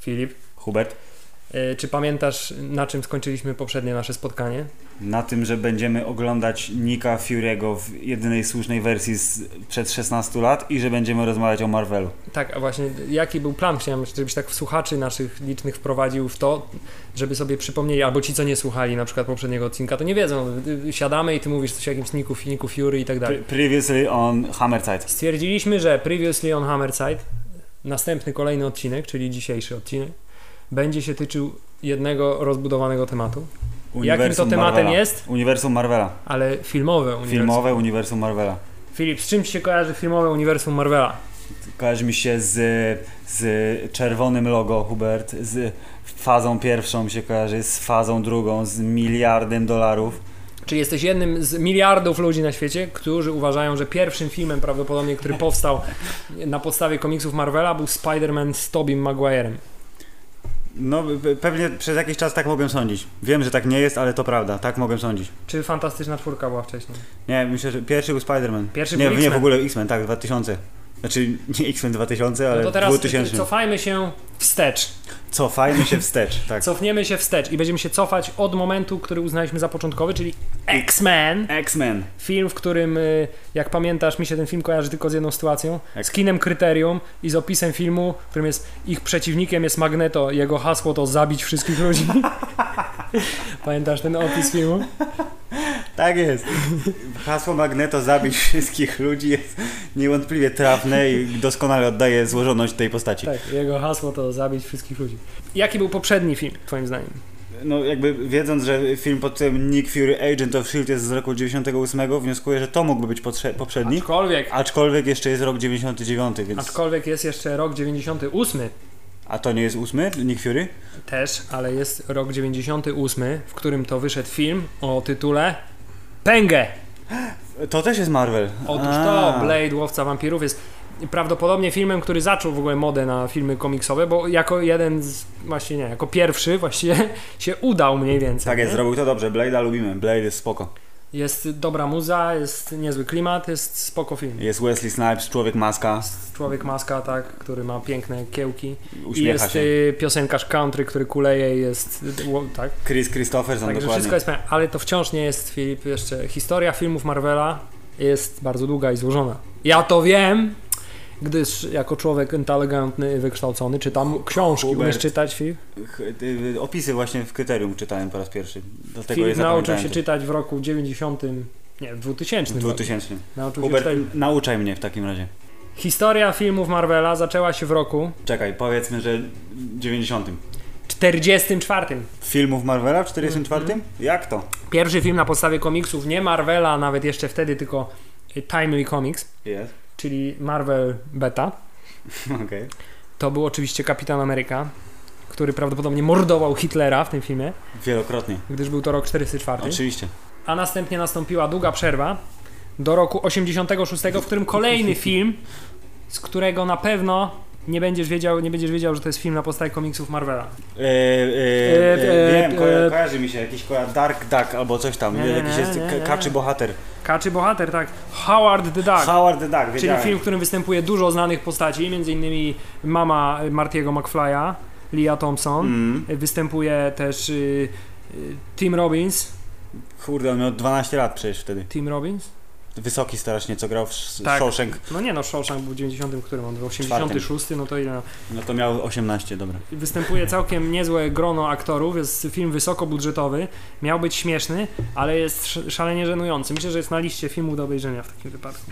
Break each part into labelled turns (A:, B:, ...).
A: Filip,
B: Hubert,
A: e, czy pamiętasz na czym skończyliśmy poprzednie nasze spotkanie?
B: na tym, że będziemy oglądać Nika Fury'ego w jedynej słusznej wersji z, przed 16 lat i że będziemy rozmawiać o Marvelu.
A: Tak, a właśnie jaki był plan? Chciałem, żebyś tak słuchaczy naszych licznych wprowadził w to, żeby sobie przypomnieli, albo ci, co nie słuchali na przykład poprzedniego odcinka, to nie wiedzą. Y, Siadamy i ty mówisz coś o jakimś Niku, Niku Fury i tak dalej.
B: Pre- Previously on Hammerzeit.
A: Stwierdziliśmy, że Previously on Hammerside, następny kolejny odcinek, czyli dzisiejszy odcinek, będzie się tyczył jednego rozbudowanego tematu. Jakim to
B: Uniwersum
A: tematem
B: Marvela.
A: jest?
B: Uniwersum Marvela.
A: Ale filmowe uniwersum.
B: Filmowe Uniwersum Marvela.
A: Filip, z czym ci się kojarzy filmowe uniwersum Marvela?
B: Kojarzy mi się z, z czerwonym logo Hubert, z fazą pierwszą mi się kojarzy, z fazą drugą, z miliardem dolarów.
A: Czy jesteś jednym z miliardów ludzi na świecie, którzy uważają, że pierwszym filmem prawdopodobnie, który powstał na podstawie komiksów Marvela był Spider-Man z Tobim Maguirem?
B: No pe- pewnie przez jakiś czas tak mogłem sądzić. Wiem, że tak nie jest, ale to prawda, tak mogłem sądzić.
A: Czy Fantastyczna Czwórka była wcześniej?
B: Nie, myślę, że pierwszy był Spider-Man.
A: Pierwszy
B: nie,
A: był
B: nie w
A: X-Men.
B: ogóle X-Men, tak, 2000. Znaczy nie X-Men 2000, ale
A: No to teraz
B: 2000.
A: cofajmy się wstecz.
B: Cofajmy się wstecz, tak.
A: Cofniemy się wstecz i będziemy się cofać od momentu, który uznaliśmy za początkowy, czyli X-Men.
B: X-Men.
A: Film, w którym, y, jak pamiętasz, mi się ten film kojarzy tylko z jedną sytuacją.
B: Jak?
A: Z kinem Kryterium i z opisem filmu, w którym jest ich przeciwnikiem jest Magneto. Jego hasło to zabić wszystkich ludzi. pamiętasz ten opis filmu?
B: Tak jest. Hasło Magneto zabić wszystkich ludzi jest niewątpliwie trafne i doskonale oddaje złożoność tej postaci.
A: Tak, jego hasło to zabić wszystkich ludzi. Jaki był poprzedni film, twoim zdaniem?
B: No jakby wiedząc, że film pod tytułem Nick Fury Agent of S.H.I.E.L.D. E jest z roku 98, wnioskuję, że to mógłby być potrze- poprzedni.
A: Aczkolwiek,
B: Aczkolwiek jeszcze jest rok 99, więc...
A: aczkolwiek jest jeszcze rok 98
B: A to nie jest ósmy Nick Fury?
A: też, ale jest rok 98, w którym to wyszedł film o tytule Pęgę.
B: To też jest Marvel.
A: Otóż
B: A.
A: to, Blade, Łowca Wampirów jest prawdopodobnie filmem, który zaczął w ogóle modę na filmy komiksowe, bo jako jeden z, właśnie nie, jako pierwszy właściwie się udał mniej więcej.
B: Tak jest,
A: nie?
B: zrobił to dobrze. Blade'a lubimy. Blade jest spoko.
A: Jest dobra muza, jest niezły klimat, jest spoko film.
B: Jest Wesley Snipes, Człowiek Maska.
A: Człowiek maska, tak, który ma piękne kiełki. I
B: Uśmiecha
A: jest
B: się.
A: y, piosenkarz country, który kuleje i jest, y, ło- tak?
B: Chris Christopherson,
A: Także
B: dokładnie.
A: wszystko jest fajne, ale to wciąż nie jest, Filip, jeszcze historia filmów Marvela jest bardzo długa i złożona. Ja to wiem, gdyż jako człowiek inteligentny i wykształcony czytam książki.
B: Hubert.
A: Umiesz czytać, Filip?
B: Ch- y, Opisy właśnie w kryterium czytałem po raz pierwszy. Dlatego je
A: Filip nauczył
B: zapamiętałem
A: się
B: tu.
A: czytać w roku 90, nie, w 2000.
B: W
A: roku.
B: 2000.
A: Nauczył się
B: Hubert,
A: czytać.
B: nauczaj mnie w takim razie.
A: Historia filmów Marvela zaczęła się w roku
B: Czekaj, powiedzmy, że 90.
A: 44.
B: Filmów Marvela w 44?
A: Mhm.
B: Jak to?
A: Pierwszy film na podstawie komiksów, nie Marvela nawet jeszcze wtedy, tylko y, Timely Comics,
B: Jest.
A: czyli Marvel Beta.
B: Okej.
A: To był oczywiście Kapitan Ameryka, który prawdopodobnie mordował Hitlera w tym filmie,
B: Wielokrotnie.
A: gdyż był to rok 44.
B: Oczywiście.
A: A następnie nastąpiła długa przerwa do roku 86, w którym kolejny film, z którego na pewno nie będziesz wiedział, nie będziesz wiedział, że to jest film na podstawie komiksów Marvela.
B: E, e,
A: E, e,
B: e, wiem, ko-
A: e.
B: kojarzy mi się jakiś ko- Dark Duck albo coś tam.
A: Nie, nie,
B: jakiś
A: nie,
B: jest
A: nie,
B: k-
A: nie.
B: kaczy bohater.
A: Kaczy bohater, tak? Howard the Duck.
B: Howard the Duck, wiedziałem.
A: Tak. Czyli film, w którym występuje dużo znanych postaci, m.in. mama Martiego McFly'a, Leah Thompson.
B: Mm.
A: Występuje też y, y, Tim Robbins.
B: Kurde, on miał 12 lat przecież wtedy.
A: Tim Robbins?
B: Wysoki strasznie, co grał w Sh-
A: Tak.
B: Shawshank.
A: No nie no, Shawshank był w 90, którym on był 86, no to ile.
B: No to miał 18, dobra.
A: Występuje całkiem niezłe grono aktorów, jest film wysokobudżetowy, miał być śmieszny, ale jest sz- szalenie żenujący. Myślę, że jest na liście filmów do obejrzenia w takim wypadku.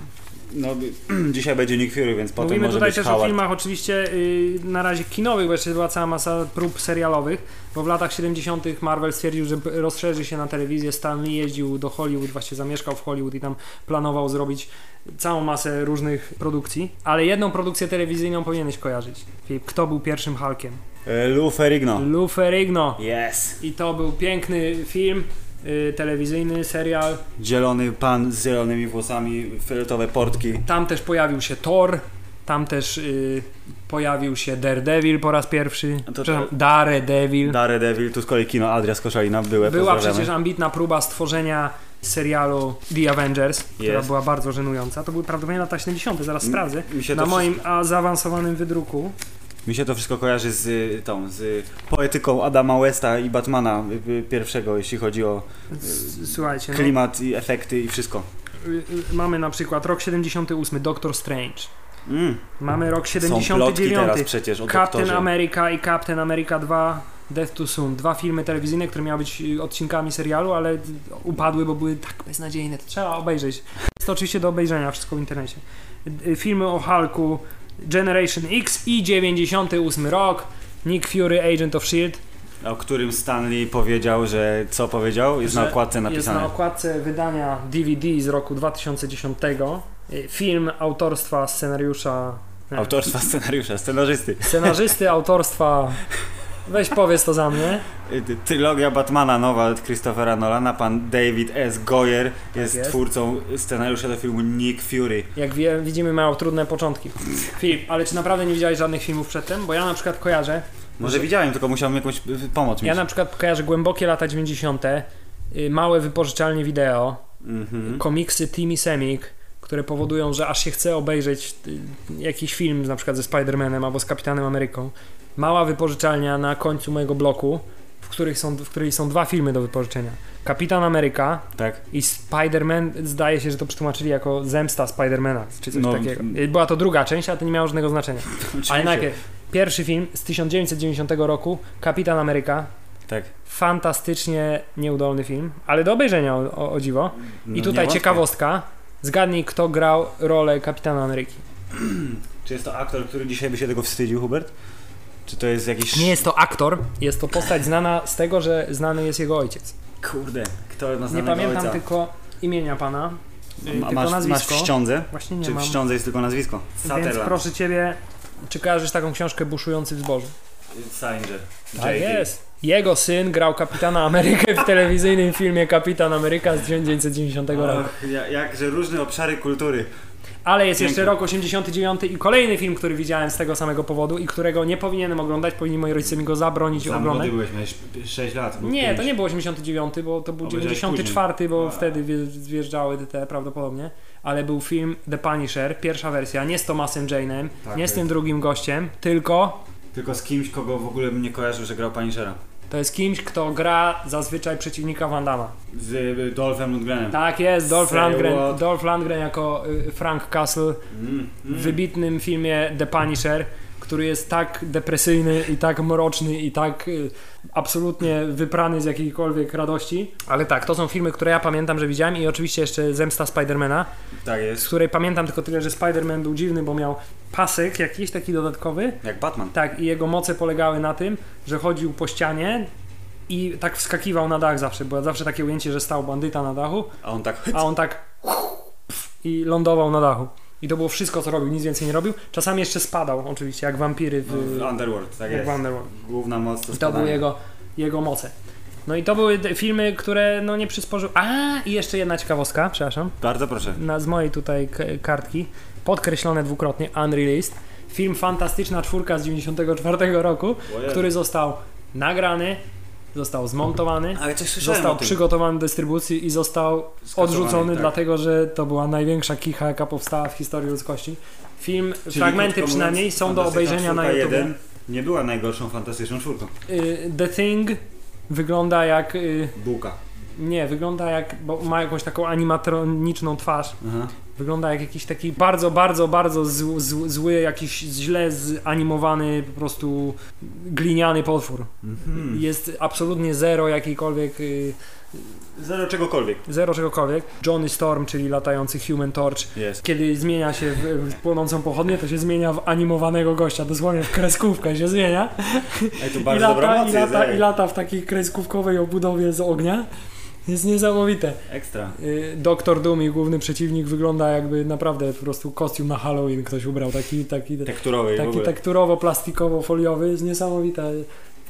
B: No, by- dzisiaj będzie Nick Fury, więc potem
A: Mówimy
B: może
A: tutaj
B: być
A: też
B: Howard.
A: o filmach oczywiście y, na razie kinowych, bo jeszcze była cała masa prób serialowych, bo w latach 70. Marvel stwierdził, że p- rozszerzy się na telewizję, Stan Lee jeździł do Hollywood, właśnie zamieszkał w Hollywood i tam planował zrobić całą masę różnych produkcji, ale jedną produkcję telewizyjną powinieneś kojarzyć. Filip, Kto był pierwszym Hulkiem?
B: E, Lou Ferrigno.
A: Lou Ferrigno.
B: Yes.
A: I to był piękny film y, telewizyjny, serial.
B: Zielony pan z zielonymi włosami, fioletowe portki.
A: Tam też pojawił się Thor, tam też y, pojawił się Daredevil po raz pierwszy.
B: to-
A: Przepraszam, Daredevil.
B: Daredevil, tu z kolei kino Adria z Koszalina, byłe,
A: Była
B: pozdrawiamy.
A: przecież ambitna próba stworzenia serialu The Avengers, która
B: Jest.
A: była bardzo żenująca. To były prawdopodobnie lata 70., zaraz sprawdzę.
B: Mi się
A: Na
B: to
A: moim a, zaawansowanym wydruku
B: Mi się to wszystko kojarzy z y, tą, z y, poetyką Adama Westa i Batmana y, y, pierwszego, jeśli chodzi o
A: S- Słuchajcie, no,
B: klimat i efekty i wszystko.
A: y, y, mamy na przykład rok 78, Doctor Strange.
B: Mm.
A: Mamy rok
B: Są plotki teraz
A: 79,
B: przecież o
A: Captain
B: doktorze.
A: America i Captain America 2 Death to Soon. Dwa filmy telewizyjne, które miały być y, odcinkami serialu, ale y, upadły, bo były tak beznadziejne. To trzeba obejrzeć. Jest to oczywiście do obejrzenia, wszystko w internecie. Y, Filmy o Hulku, Generation X i 98 rok, Nick Fury, Agent of S.H.I.E.L.D.
B: O którym Stanley powiedział, że co powiedział? Jest na
A: Że
B: okładce
A: Jest
B: napisane.
A: na okładce wydania DVD z roku 2010. y, Film autorstwa scenariusza... nie,
B: Autorstwa scenariusza, scenarzysty.
A: Scenarzysty autorstwa... Weź powiedz to za mnie.
B: Y, ty- Trylogia Batmana nowa od Christophera Nolana. Pan David S. Goyer jest,
A: Tak jest.
B: twórcą scenariusza do filmu Nick Fury.
A: Jak wie, widzimy, mają trudne początki. Filip, ale czy naprawdę nie widziałeś żadnych filmów przedtem? Bo ja na przykład kojarzę.
B: Może widziałem, tylko musiałem jakąś y, pomoc mieć.
A: Ja na przykład kojarzę głębokie lata 90., y, małe wypożyczalnie wideo,
B: Mhm.
A: komiksy Timmy Semik, które powodują, że aż się chce obejrzeć y, jakiś film, na przykład ze Spider-Manem albo z Kapitanem Ameryką. Mała wypożyczalnia na końcu mojego bloku, w, których są, w której są dwa filmy do wypożyczenia. Kapitan Ameryka
B: Tak.
A: I Spider-Man, zdaje się, że to przetłumaczyli jako zemsta Spidermana, czy coś
B: No,
A: takiego.
B: m-
A: Y, Była to druga część, ale to nie miało żadnego znaczenia. Ale najpierw, pierwszy film z 1990 roku, Kapitan Ameryka,
B: Tak.
A: fantastycznie nieudolny film, ale do obejrzenia o, o, o dziwo.
B: No,
A: I tutaj
B: nie
A: ciekawostka, zgadnij kto grał rolę Kapitana Ameryki.
B: wątpię. Czy jest to aktor, który dzisiaj by się tego wstydził, Hubert? Czy to jest jakiś...
A: Nie jest to aktor, jest to postać znana z tego, że znany jest jego ojciec.
B: Kurde, kto ma
A: Nie
B: znanego
A: pamiętam
B: ojca?
A: tylko imienia pana, y,
B: Ma-
A: tylko
B: masz, masz
A: nazwisko.
B: w ściądze?
A: Właśnie nie
B: Czy w
A: mam.
B: ściądze jest tylko nazwisko?
A: Więc
B: Sutherland.
A: proszę ciebie, czy kojarzysz taką książkę Buszujący w zbożu?
B: Salinger.
A: Tak
B: JD.
A: jest. Jego syn grał Kapitana Amerykę w telewizyjnym filmie Kapitan Ameryka z 1990 roku.
B: Och, ja- jakże różne obszary kultury.
A: Ale jest jeszcze
B: pięknie.
A: rok 89 i kolejny film, który widziałem z tego samego powodu i którego nie powinienem oglądać, powinni moi rodzice mi go zabronić
B: Za
A: oglądać.
B: młody byłeś, miałeś 6 lat. lub
A: Nie,
B: pięć.
A: to nie był 89, bo to był
B: Obejrzałeś
A: 94, bo
B: A.
A: wtedy wje- wjeżdżały te prawdopodobnie. Ale był film The Punisher, pierwsza wersja, nie z Thomasem Jane'em,
B: Tak,
A: nie z
B: to
A: tym drugim gościem, tylko
B: Tylko z kimś, kogo w ogóle bym nie kojarzył, że grał Punishera.
A: To jest kimś, kto gra zazwyczaj przeciwnika Van Damme.
B: Z y, Dolphem Lundgrenem.
A: Tak jest, Dolph
B: Say
A: Lundgren,
B: what?
A: Dolph Lundgren jako y, Frank Castle
B: Mm,
A: w
B: mm.
A: wybitnym filmie The Punisher, który jest tak depresyjny i tak mroczny i tak y, absolutnie wyprany z jakiejkolwiek radości. Ale tak, to są filmy, które ja pamiętam, że widziałem i oczywiście jeszcze Zemsta Spidermana,
B: Tak
A: z
B: jest.
A: której pamiętam tylko tyle, że Spiderman był dziwny, bo miał pasek jakiś taki dodatkowy
B: Jak Batman.
A: Tak, i jego moce polegały na tym, że chodził po ścianie i tak wskakiwał na dach zawsze. Było zawsze takie ujęcie, że stał bandyta na dachu,
B: A on tak...
A: a on tak i lądował na dachu. I to było wszystko, co robił, nic więcej nie robił. Czasami jeszcze spadał, oczywiście, jak wampiry w,
B: W Underworld, tak
A: jak
B: jest.
A: w Underworld.
B: Główna moc to
A: I to były
B: spadanie.
A: jego, jego moce. No i to były te filmy, które no nie przysporzył. A i jeszcze jedna ciekawostka, przepraszam
B: Bardzo proszę.
A: na, z mojej tutaj k- kartki, podkreślone dwukrotnie, Unreleased, film Fantastyczna Czwórka z 94 roku,
B: Ojej.
A: który został nagrany, został zmontowany,
B: Ale coś słyszałem
A: został
B: o tym.
A: przygotowany do dystrybucji i został
B: Skasowany,
A: odrzucony,
B: tak.
A: dlatego że to była największa kicha, jaka powstała w historii ludzkości. Film,
B: Czyli
A: fragmenty
B: krótko
A: przynajmniej,
B: mówiąc,
A: są do
B: Fantastyczna
A: obejrzenia na
B: Czwórka
A: YouTube.
B: 1 nie była najgorszą fantastyczną czwórką.
A: Y, The Thing wygląda jak... y,
B: Bułka.
A: Nie, wygląda jak... bo ma jakąś taką animatroniczną twarz.
B: Aha.
A: Wygląda jak jakiś taki bardzo, bardzo, bardzo zł, zł, zły, jakiś źle zanimowany, po prostu gliniany potwór.
B: Mhm.
A: Jest absolutnie zero jakiejkolwiek, y,
B: Zero czegokolwiek.
A: zero czegokolwiek. Johnny Storm, czyli latający Human Torch.
B: Jest.
A: Kiedy zmienia się w, w płonącą pochodnię, to się zmienia w animowanego gościa, dosłownie w kreskówkę się zmienia.
B: Ej, to
A: I
B: bardzo dobra
A: lata, i
B: moc jest.
A: lata,
B: Lata,
A: i lata w takiej kreskówkowej obudowie z ognia. Jest niesamowite. Y,
B: Ekstra.
A: Doktor Doom i główny przeciwnik wygląda jakby naprawdę po prostu kostium na Halloween ktoś ubrał, taki, taki,
B: Tekturowej w
A: taki tak-
B: ogóle.
A: tekturowo-plastikowo-foliowy, jest niesamowita.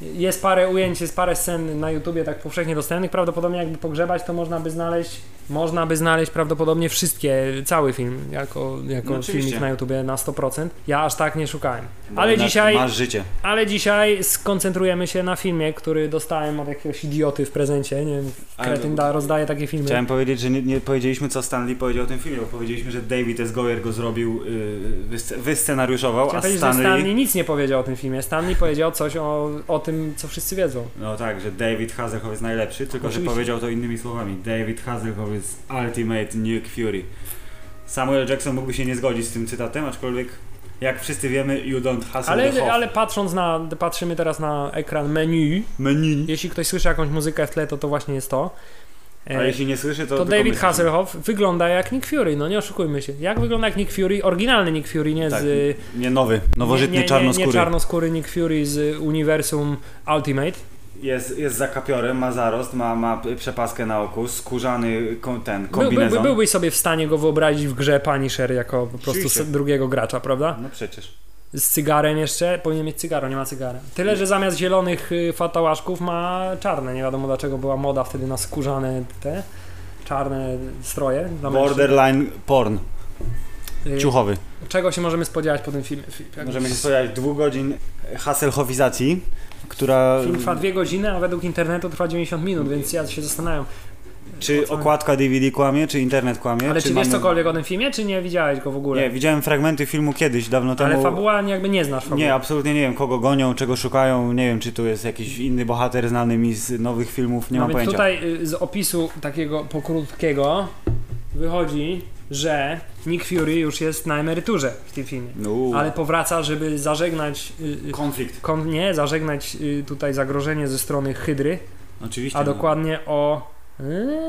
A: Jest parę ujęć, jest parę scen na YouTubie tak powszechnie dostępnych, prawdopodobnie jakby pogrzebać to można by znaleźć Można by znaleźć prawdopodobnie wszystkie, cały film, jako, jako
B: No oczywiście.
A: filmik na YouTubie na 100%. Ja aż tak nie szukałem.
B: Bo
A: Ale
B: jednak
A: dzisiaj,
B: Masz życie.
A: ale dzisiaj skoncentrujemy się na filmie, który dostałem od jakiegoś idioty w prezencie. Nie wiem,
B: Ale-
A: kretyn da, rozdaje takie filmy.
B: no, Chciałem powiedzieć, że nie, nie powiedzieliśmy, co Stanley powiedział o tym filmie, bo powiedzieliśmy, że David S. Goyer go zrobił, yy, wysce- wyscenariuszował,
A: Chciałem
B: a
A: powiedzieć,
B: Stanley...
A: że Stanley nic nie powiedział o tym filmie. Stanley powiedział coś o, o tym, co wszyscy wiedzą.
B: No tak, że David Hasselhoff jest najlepszy, tylko
A: Oczywiście.
B: że powiedział to innymi słowami. David Hasselhoff jest ultimate nuke fury. Samuel Jackson mógłby się nie zgodzić z tym cytatem, aczkolwiek jak wszyscy wiemy, you don't hustle the
A: Ale,
B: hoff.
A: ale patrząc na, patrzymy teraz na ekran menu,
B: Menu.
A: jeśli ktoś słyszy jakąś muzykę w tle, to to właśnie jest to. E,
B: A jeśli nie słyszy,
A: to
B: to tylko
A: David
B: myśli.
A: Hasselhoff wygląda jak Nick Fury, no nie oszukujmy się. Jak wygląda jak Nick Fury? Oryginalny Nick Fury, nie
B: Tak,
A: z... y,
B: Nie nowy, nowożytny
A: nie, nie, Nie,
B: czarnoskóry.
A: nie czarnoskóry Nick Fury z y, uniwersum Ultimate.
B: Jest, jest zakapiorem, ma zarost, ma, ma przepaskę na oku, skórzany kon, ten
A: By,
B: kombinezon.
A: by, by, byłbyś sobie w stanie go wyobrazić w grze Punisher jako po prostu
B: Oczywiście.
A: s- drugiego gracza, prawda?
B: No przecież.
A: Z cygarem jeszcze. Powinien mieć cygaro, nie ma cygara. Tyle, że zamiast zielonych y, fatałaszków ma czarne. Nie wiadomo dlaczego była moda wtedy na skórzane te czarne stroje. dla
B: Borderline porn,
A: mężczyzn. Y,
B: ciuchowy.
A: Czego się możemy spodziewać po tym filmie? Fi- jak-
B: Możemy się spodziewać dwóch godzin Hasselhoffizacji, która...
A: Film trwa dwie godziny, a według internetu trwa 90 minut, więc ja się zastanawiam.
B: Czy okładka DVD kłamie, czy internet kłamie?
A: Ale czy, wiesz
B: mamy-
A: cokolwiek o tym filmie, czy nie widziałeś go w ogóle?
B: Nie, widziałem fragmenty filmu kiedyś, dawno temu.
A: Ale fabuła nie- jakby nie znasz fabuły.
B: Nie, absolutnie nie wiem, kogo gonią, czego szukają. Nie wiem, czy tu jest jakiś inny bohater znany mi z nowych filmów, nie
A: no więc
B: mam pojęcia.
A: tutaj y, z opisu takiego pokrótkiego wychodzi, że Nick Fury już jest na emeryturze w tym filmie.
B: No.
A: Ale powraca, żeby zażegnać... y, y,
B: Konflikt.
A: Kon, nie, zażegnać y, tutaj zagrożenie ze strony Hydry,
B: Oczywiście.
A: a
B: no.
A: dokładnie o eee,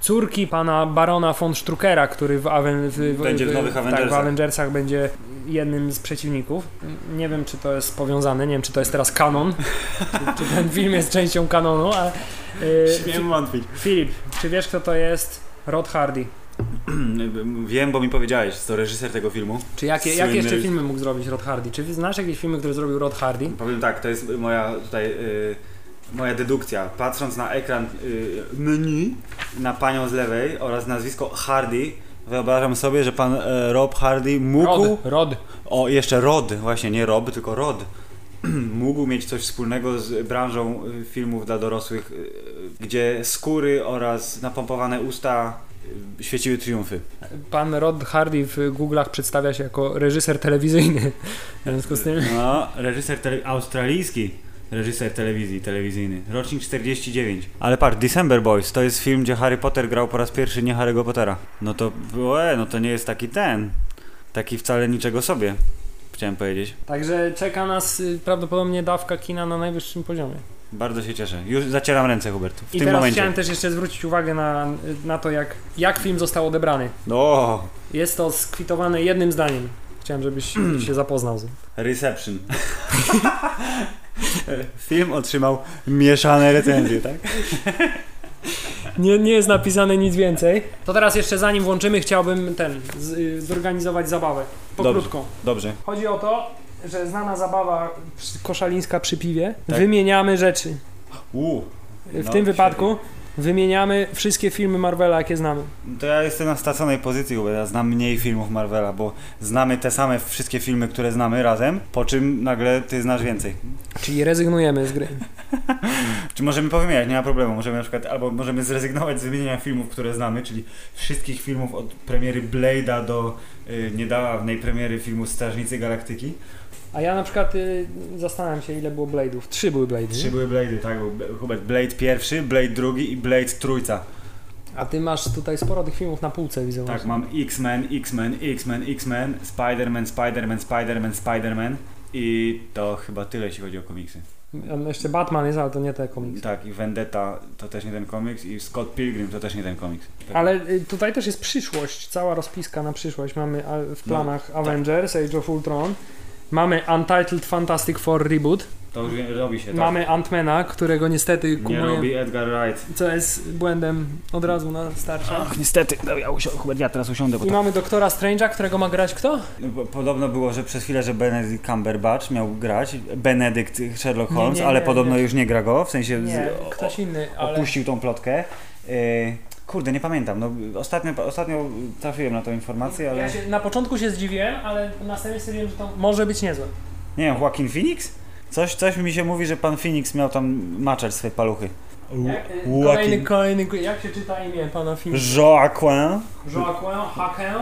A: córki pana barona von Struckera, który w, Aven, w, w,
B: Będzie w nowych
A: Tak, w
B: Avengersach.
A: Avengersach będzie jednym z przeciwników. Nie wiem, czy to jest powiązane, nie wiem, czy to jest teraz kanon, czy, czy ten film jest częścią kanonu, ale... e,
B: Śmiem wątpić.
A: Filip, czy wiesz, kto to jest? Rod Hardy.
B: Wiem, bo mi powiedziałeś, to reżyser tego filmu.
A: Czy jakie, jakie jeszcze
B: Słynny-
A: filmy mógł zrobić Rod Hardy? Czy znasz jakieś filmy, które zrobił Rod Hardy?
B: Powiem tak, to jest moja tutaj y, moja dedukcja. Patrząc na ekran y, menu, na panią z lewej oraz nazwisko Hardy, wyobrażam sobie, że pan y, Rob Hardy mógł...
A: Rod, Rod.
B: O, jeszcze Rod, właśnie nie Rob, tylko Rod. Mógł mieć coś wspólnego z branżą y, filmów dla dorosłych, y, gdzie skóry oraz napompowane usta y, świeciły triumfy.
A: Pan Rod Hardy w Google'ach przedstawia się jako reżyser telewizyjny. W związku z tym.
B: No, reżyser tele- australijski, reżyser telewizji, telewizyjny, rocznik 49. Ale patrz, December Boys to jest film, gdzie Harry Potter grał po raz pierwszy, nie Harry'ego Pottera. No to, łe, no to nie jest taki ten, taki wcale niczego sobie, chciałem powiedzieć.
A: Także czeka nas y, prawdopodobnie dawka kina na najwyższym poziomie.
B: Bardzo się cieszę. Już zacieram ręce, Hubert, w
A: I
B: tym
A: teraz
B: momencie.
A: chciałem też jeszcze zwrócić uwagę na, na to, jak, jak film został odebrany.
B: O,
A: Jest to skwitowane jednym zdaniem. Chciałem, żebyś się zapoznał z tym.
B: Reception. Film otrzymał mieszane recenzje, tak?
A: Nie, nie jest napisane nic więcej. To teraz jeszcze zanim włączymy, chciałbym ten, z, y, zorganizować zabawę.
B: Dobrze.
A: Pokrótką.
B: Dobrze.
A: Chodzi o to, że znana zabawa przy- koszalińska przy piwie.
B: Tak.
A: Wymieniamy rzeczy.
B: U,
A: W
B: No,
A: tym wypadku wymieniamy wszystkie filmy Marvela, jakie znamy.
B: to ja jestem na straconej pozycji, bo ja znam mniej filmów Marvela, bo znamy te same wszystkie filmy, które znamy razem, po czym nagle ty znasz więcej.
A: Czyli rezygnujemy z gry.
B: Czy możemy powymieniać, nie ma problemu, możemy na przykład, albo możemy zrezygnować z wymienienia filmów, które znamy, czyli wszystkich filmów od premiery Blade'a do y, niedawnej premiery filmu Strażnicy Galaktyki.
A: A ja na przykład y, zastanawiam się, ile było Blade'ów. Trzy były Blade'y.
B: Trzy były Blade'y, tak, był B- Hubert, Blade pierwszy, Blade drugi i Blade trójca.
A: A ty masz tutaj sporo tych filmów na półce, widzę.
B: Tak, mam X-Men, X-Men, X-Men, X-Men, Spider-Man, Spider-Man, Spider-Man, Spider-Man i to chyba tyle, jeśli chodzi o komiksy.
A: A Um, Jeszcze Batman jest, ale to nie te komiksy.
B: Tak, i Vendetta to też nie ten komiks i Scott Pilgrim to też nie ten komiks. Tak.
A: Ale y, tutaj też jest przyszłość, cała rozpiska na przyszłość. Mamy a, w planach
B: No, tak.
A: Avengers, Age of Ultron. Mamy Untitled Fantastic Four Reboot.
B: To już wie- robi się, tak.
A: Mamy Ant-Mana, którego niestety
B: Nie
A: kumuje,
B: robi Edgar Wright.
A: co jest błędem od razu na starcie.
B: Ach, niestety, no ja, usią- Hubert, ja teraz usiądę, bo
A: I
B: to...
A: mamy Doktora Strange'a, którego ma grać kto?
B: Bo No, Podobno było, że przez chwilę, że Benedict Cumberbatch miał grać, Benedict Sherlock
A: Nie,
B: Holmes,
A: nie,
B: ale
A: nie,
B: podobno
A: nie.
B: już nie gra go, w sensie...
A: Nie,
B: z, o-
A: ktoś inny, ale
B: opuścił tą plotkę Yy, kurde, nie pamiętam. No, ostatnio, ostatnio trafiłem na tą informację, ale.
A: Ja się, na początku się zdziwiłem, ale następnie stwierdziłem, że to może być niezłe.
B: Nie wiem, Joaquin Phoenix? Coś, coś mi się mówi, że pan Phoenix miał tam maczać swoje paluchy.
A: Jak, y, kolejny,
B: Joaquin.
A: kolejny, jak się czyta imię pana filmu?
B: Joaquin.
A: Joaquin, Hakę,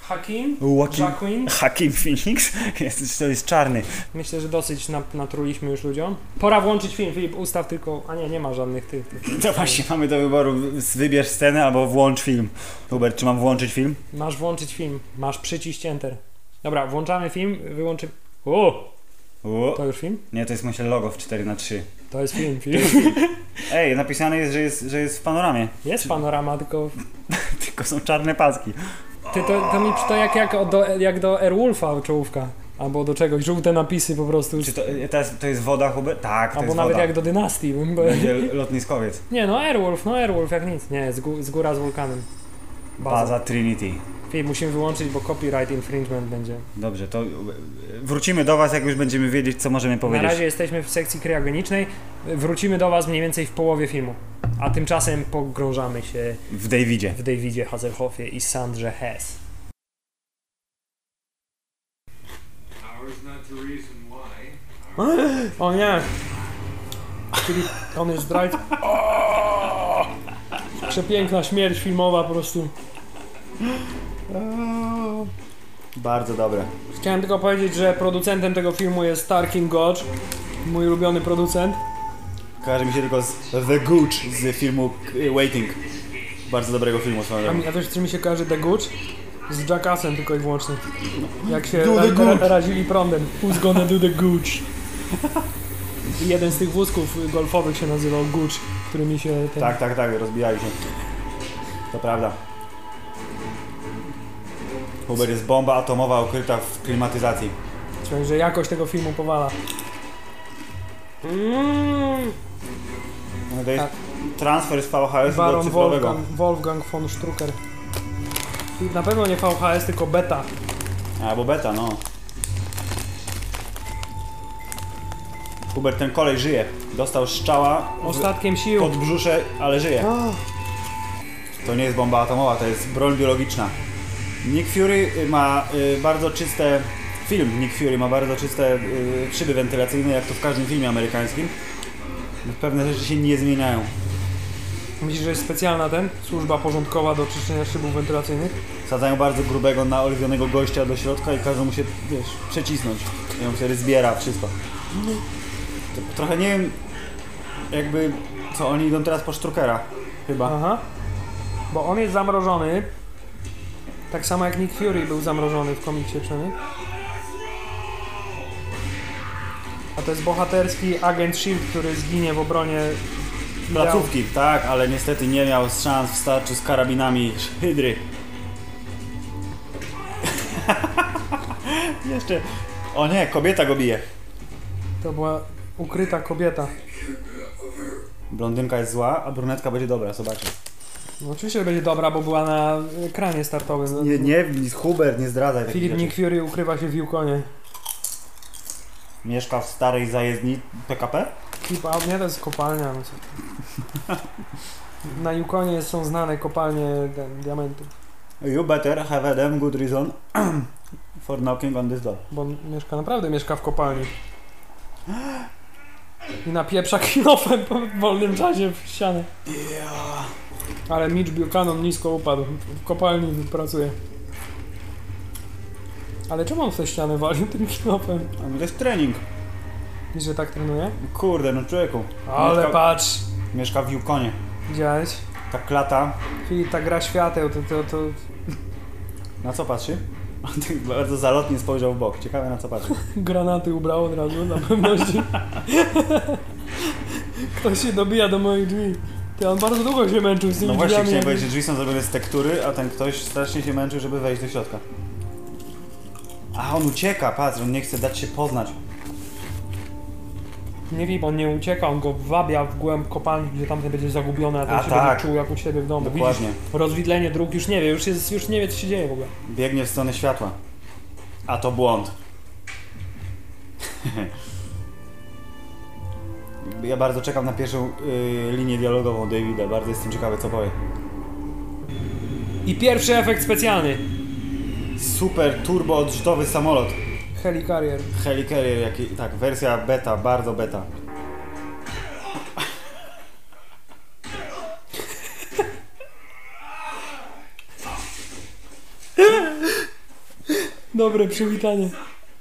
A: Hakim,
B: Joaquin.
A: Jacqueline.
B: Joaquin Phoenix? Jest, to jest czarny.
A: Myślę, że dosyć nap- natruliśmy już ludziom. Pora włączyć film, Filip, ustaw tylko... A nie, nie ma żadnych tych. tych-
B: To właśnie mamy do wyboru. Wybierz scenę albo włącz film. Hubert, czy mam włączyć film?
A: Masz włączyć film, masz przyciść Enter. Dobra, włączamy film, wyłączy... O,
B: O,
A: to już film?
B: nie, to jest myślę logo w 4 na 3
A: To jest film, film.
B: Ej, napisane jest, że jest, że jest w panoramie.
A: Jest panorama, tylko
B: Tylko są czarne paski.
A: Ty, to, to mi to jak, jak, o- do, jak do Airwolfa czołówka, albo do czegoś, żółte napisy po prostu,
B: Czy to, to, jest, to jest woda, Hubert? Tak, to
A: albo
B: jest
A: nawet
B: woda.
A: jak do Dynastii. Bym, bo...
B: Będzie lotniskowiec.
A: Nie no, Airwolf, no Airwolf jak nic. Nie, z, gó- z góra z wulkanem. Baza.
B: Baza Trinity.
A: Baza. Musimy wyłączyć, bo copyright infringement będzie.
B: Dobrze, to e, wrócimy do was, jak już będziemy wiedzieć, co możemy powiedzieć.
A: Na razie jesteśmy w sekcji kryogenicznej, wrócimy do was mniej więcej w połowie filmu. A tymczasem pogrążamy się
B: W Davidzie.
A: w Davidzie Hasselhoffie i Sandrze Hess.
C: Ours not the reason why.
A: O nie! Czyli on jest zdrajcą. Przepiękna śmierć filmowa po prostu.
B: Bardzo dobre.
A: Chciałem tylko powiedzieć, że producentem tego filmu jest Tarkin Gotch, mój ulubiony producent.
B: Kojarzy mi się tylko z The Gooch z filmu e, Waiting. Bardzo dobrego filmu swoją
A: A,
B: drogą.
A: mi- a wiesz, czy mi się kojarzy The Gooch? Z Jackassem tylko i wyłącznie. Jak się
B: Do the
A: ra-
B: Gooch.
A: ra- razili prądem. Who's gonna do the Gooch? I jeden z tych wózków golfowych się nazywał Gooch, którymi się... Ten...
B: Tak, tak, tak, rozbijali się. To prawda. Uber jest bomba atomowa ukryta w klimatyzacji.
A: Czyli, że jakość tego filmu powala. Mm.
B: No To jest transfer z VHS do
A: Tak. Baron
B: cyfrowego.
A: Wolfgang, Wolfgang von Strucker. I na pewno nie VHS, tylko beta.
B: Albo beta, no. Hubert, ten kolej żyje. Dostał strzała
A: Ostatkiem
B: w
A: sił.
B: podbrzusze, ale żyje.
A: O,
B: To nie jest bomba atomowa, to jest broń biologiczna. Nick Fury y, ma y, bardzo czyste... Film Nick Fury ma bardzo czyste y, szyby wentylacyjne, jak to w każdym filmie amerykańskim. Pewne rzeczy się nie zmieniają.
A: Myślisz, że jest specjalna ten? Służba porządkowa do czyszczenia szybów wentylacyjnych?
B: Sadzają bardzo grubego, naoliwionego gościa do środka i każą mu się, wiesz, przecisnąć. I on wtedy zbiera wszystko. To Trochę nie wiem, jakby, co oni idą teraz po sztrukera, chyba.
A: Aha. Bo on jest zamrożony. Tak samo jak Nick Fury był zamrożony w komiksie, czy nie? A to jest bohaterski agent SHIELD, E który zginie w obronie...
B: Placówki, tak, ale niestety nie miał szans w starciu z karabinami hydry. Jeszcze, o nie, kobieta go bije.
A: To była ukryta kobieta.
B: Blondynka jest zła, a brunetka będzie dobra, zobaczcie.
A: No, oczywiście, że będzie dobra, bo była na ekranie startowym.
B: Nie, nie, Hubert, nie zdradzaj takich
A: Filip
B: rzeczy.
A: Nick Fury ukrywa się w Yukonie.
B: Mieszka w starej zajezdni PKP?
A: Keep out, nie to jest kopalnia. no co ty. Na Yukonie są znane kopalnie di- diamentów,
B: You better have a damn good reason for knocking on this door.
A: bo on mieszka, naprawdę mieszka w kopalni. I napieprza kinofem po- w wolnym czasie w ścianę. Ale Mitch Buchanan nisko upadł, w kopalni pracuje. Ale czemu on w tę ścianę walił tym kinofem?
B: A no to jest trening.
A: I że tak trenuje?
B: Kurde, no człowieku.
A: Ale
B: mieszka,
A: patrz!
B: mieszka w Yukonie.
A: Widziałeś?
B: Ta klata,
A: Filip, ta gra świateł, to, to, to
B: na co patrzy? On tak bardzo zalotnie spojrzał w bok. Ciekawe na co patrzy. No
A: Granaty ubrał od razu, na pewności. Ktoś się dobija do moich drzwi. Ty, on bardzo długo się męczył z tymi
B: No właśnie
A: drzwiami.
B: chciałem powiedzieć, że drzwi są zrobione z tektury, a ten ktoś strasznie się męczył, żeby wejść do środka. A on ucieka, patrz, on nie chce dać się poznać.
A: Nie wiem, on nie ucieka, on go wabia w głęb kopalni, gdzie tamten będzie zagubiony, a ten
B: A
A: się
B: tak.
A: będzie czuł jak u siebie w domu.
B: Dokładnie.
A: No Widzisz, rozwidlenie dróg już nie wie, już, jest, już nie wie co się dzieje w ogóle.
B: Biegnie w stronę światła. A to błąd. ja bardzo czekam na pierwszą y, linię dialogową Davida, bardzo jestem ciekawy co powie.
A: I pierwszy efekt specjalny.
B: Super turbo odrzutowy samolot.
A: Helikarier.
B: Helicarrier, jaki, tak, wersja beta, bardzo beta.
A: Dobre przywitanie.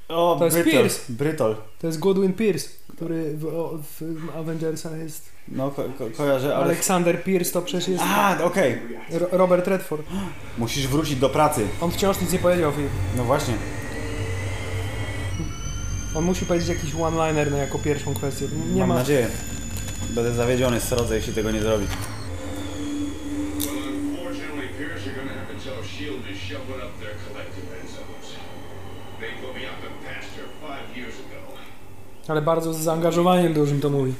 B: O,
A: To jest
B: Brytol,
A: Pierce.
B: Brytol.
A: To jest Godwin Pierce, który w, o- w Avengersach jest.
B: No, ko ko kojarzę, ale...
A: Aleksander Pierce to przecież jest
B: A, okej.
A: Ro- Robert Redford.
B: Musisz wrócić do pracy.
A: On wciąż nic nie powiedział, Filip.
B: No właśnie.
A: On musi powiedzieć jakiś one-liner na jako pierwszą kwestię. Nie
B: Mam
A: ma.
B: nadzieję. Będę zawiedziony, srodzę, jeśli tego nie zrobi.
C: Well, unfortunately, Pierce are gonna have to tell Shield E to shovel up their collective enzymes. They put me up the pasture five years ago.
A: Ale bardzo z zaangażowaniem dużym to mówi.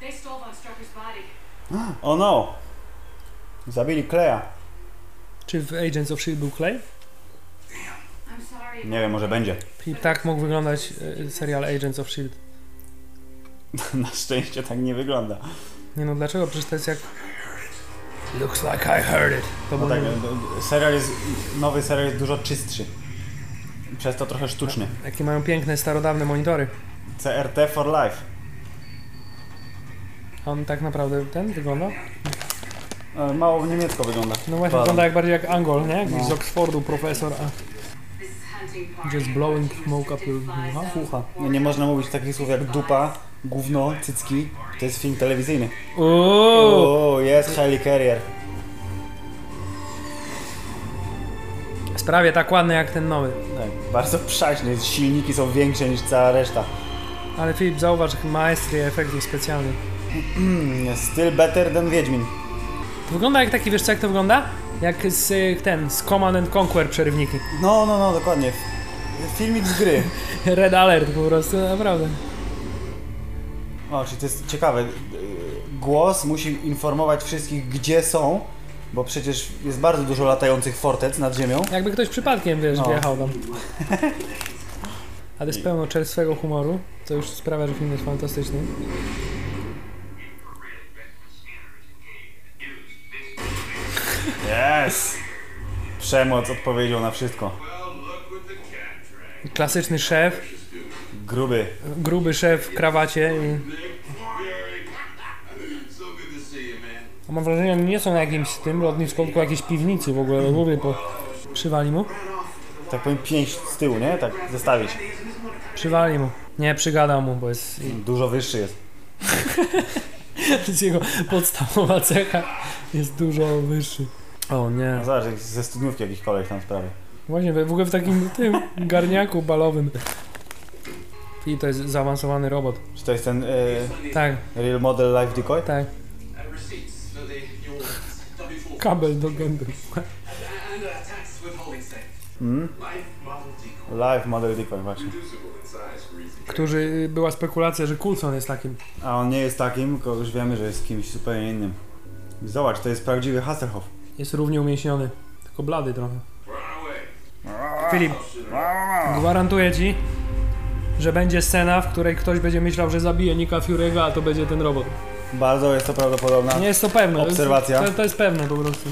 D: They stole Von Strucker's body.
B: O no! Zabili Kleja.
A: Czy w Agents of Shield był E Clay?
D: I'm sorry.
B: Nie wiem, może będzie.
A: I tak mógł wyglądać e, serial Agents of Shield.
B: Na szczęście tak nie wygląda.
A: Nie no, dlaczego? Przecież to jest jak. Looks like I heard it. To
B: No
A: było
B: tak,
A: nie-
B: e, serial jest, nowy serial jest dużo czystszy. Przez to trochę sztuczny.
A: Jakie mają piękne, starodawne monitory.
B: CRT for life.
A: A on tak naprawdę ten wygląda?
B: E, Mało w niemiecko wygląda.
A: No właśnie,
B: Balon.
A: wygląda jak bardziej jak Angol, nie? Jakiś
B: No.
A: z Oxfordu profesor. A...
D: This is hunting party.
A: Just blowing smoke up your- Aha.
B: Fucha. No nie można mówić takich słów jak dupa, gówno, cycki. To jest film telewizyjny.
A: Uuu!
B: O, jest Helicarrier.
A: Sprawie tak ładne jak ten nowy.
B: Tak, bardzo przaśny. Silniki są większe niż cała reszta.
A: Ale Filip, zauważ, jak maestrie efektów specjalnych.
B: Mm, Still better than Wiedźmin.
A: To Wygląda jak taki, wiesz co, jak to wygląda? Jak z y, ten, z Command and Conquer przerywniki.
B: No, no, no, dokładnie. Filmik z gry.
A: Red Alert po prostu, naprawdę.
B: O, czyli to jest ciekawe. Yy, Głos musi informować wszystkich, gdzie są, bo przecież jest bardzo dużo latających fortec nad ziemią.
A: Jakby ktoś przypadkiem, wiesz,
B: No.
A: wjechał tam. Ale z pełno czerstwego humoru, co już sprawia, że film jest fantastyczny.
B: Yes! Przemoc odpowiedział na wszystko.
C: Well, look what the cat dragged.
A: Klasyczny szef,
B: Gruby.
A: gruby szef w krawacie i...
C: Nick, Gary, so good to see you, man.
A: A mam wrażenie, oni nie są na jakimś tym lotnisku, tylko jakiejś piwnicy w ogóle, no mówię, po... Przywali mu?
B: Tak powiem pięć z tyłu, nie? Tak zestawić.
A: Przywali mu. Nie, przygadał mu, bo jest
B: Dużo wyższy jest.
A: jest jego podstawowa cecha jest dużo wyższy. O nie.
B: No zobacz, jak ze studniówki jakiś koleś tam sprawy.
A: Właśnie, we- w ogóle w takim tym garniaku balowym. I to jest zaawansowany robot.
B: Czy to jest ten e,
A: Tak,
B: Real Model Life Decoy?
A: tak.
E: and Uh, receipts for the your W4
A: Kabel do gęby.
E: and a tax withholding state.
B: Mm?
E: Life model decoy.
B: Live Model Decoy, właśnie.
C: Reducible in size, reason.
A: Którzy y, była spekulacja, że Coulson jest takim.
B: A on nie jest takim, tylko już wiemy, że jest kimś zupełnie innym. Zobacz, to jest prawdziwy Hasselhoff.
A: Jest równie umięśniony. Tylko blady trochę.
C: Run away.
A: Filip, gwarantuję ci, że będzie scena, w której ktoś będzie myślał, że zabije Nika Fury'ego, a to będzie ten robot.
B: Bardzo jest to prawdopodobne.
A: Nie jest to pewne. to jest-
B: Obserwacja.
A: To, to jest pewne po prostu.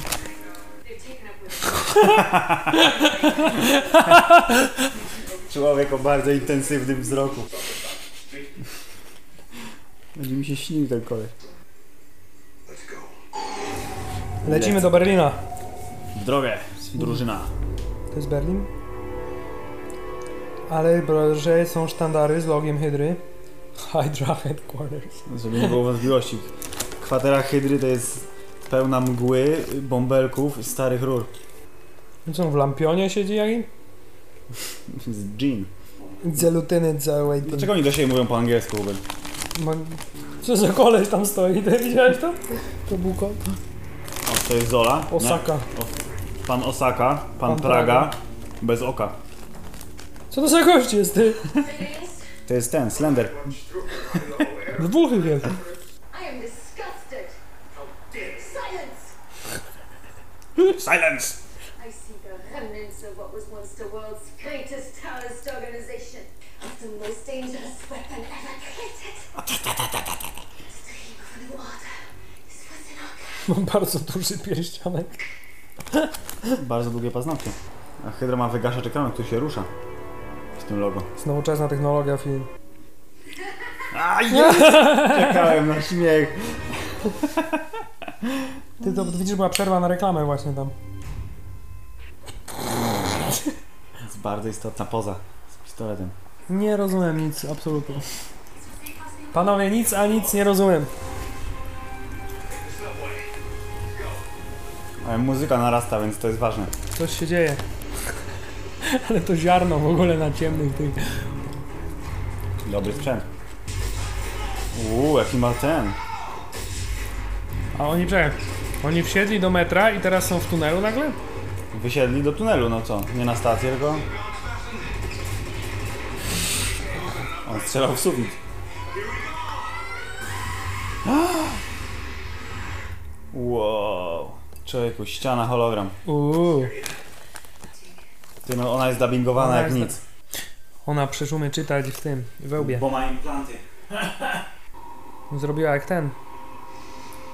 D: They've taken up with
B: Człowiek o bardzo intensywnym wzroku. Będzie mi się śnił ten koleś.
C: Let's go.
A: Lecimy do Berlina.
B: W drogę, drużyna.
A: To jest Berlin. Ale że są sztandary z logiem Hydry. Hydra Headquarters.
B: Żeby nie było wątpliwości. Kwatera Hydry to jest pełna mgły, bąbelków, i starych rur.
A: No Co, w lampionie siedzi jakim?
B: Z jean.
A: Zelutiny całej
B: Dlaczego oni do siebie mówią po angielsku w ogóle?
A: Co za koleś tam stoi? Ty widziałeś to? To był ko-
B: O, to jest Zola. nie?
A: Osaka.
B: Pan Osaka, pan,
A: Pan
B: Praga.
A: Praga.
B: Bez oka.
A: Co to za gość jest ty?
D: today's.
B: To jest ten, Slender.
A: Dwóch wiem.
D: I am disgusted. Silence.
B: Silence!
D: I see the remnants of what was once the world's greatest terrorist organization. It's the most dangerous weapon ever created.
A: Mam bardzo duży pierścionek.
B: Bardzo długie paznokcie. A Hydra ma wygaszacz ekranu, który się rusza. Z tym logo.
A: Jest nowoczesna technologia film.
B: A jest! Czekałem na śmiech.
A: Ty to widzisz, była przerwa na reklamę właśnie tam.
B: Jest bardzo istotna poza z pistoletem.
A: Nie rozumiem nic, absolutnie. Panowie, nic a nic nie rozumiem.
B: Ale E, muzyka narasta, więc to jest ważne.
A: Coś się dzieje. Ale to ziarno w ogóle na ciemnych tych.
B: Dobry sprzęt. Uuu, jaki ma ten.
A: A oni czekaj. Oni wsiedli do metra i teraz są w tunelu nagle?
B: Wysiedli do tunelu, no co? Nie na stację, tylko... On strzelał w sufit. Wow. Człowieku, ściana hologram.
A: Uuu.
B: Ty, no ona jest dubbingowana
A: Ona
B: jak
A: jest-
B: nic.
A: Ona przecież umie czytać w tym, we łbie.
B: Bo ma implanty.
A: Zrobiła jak ten.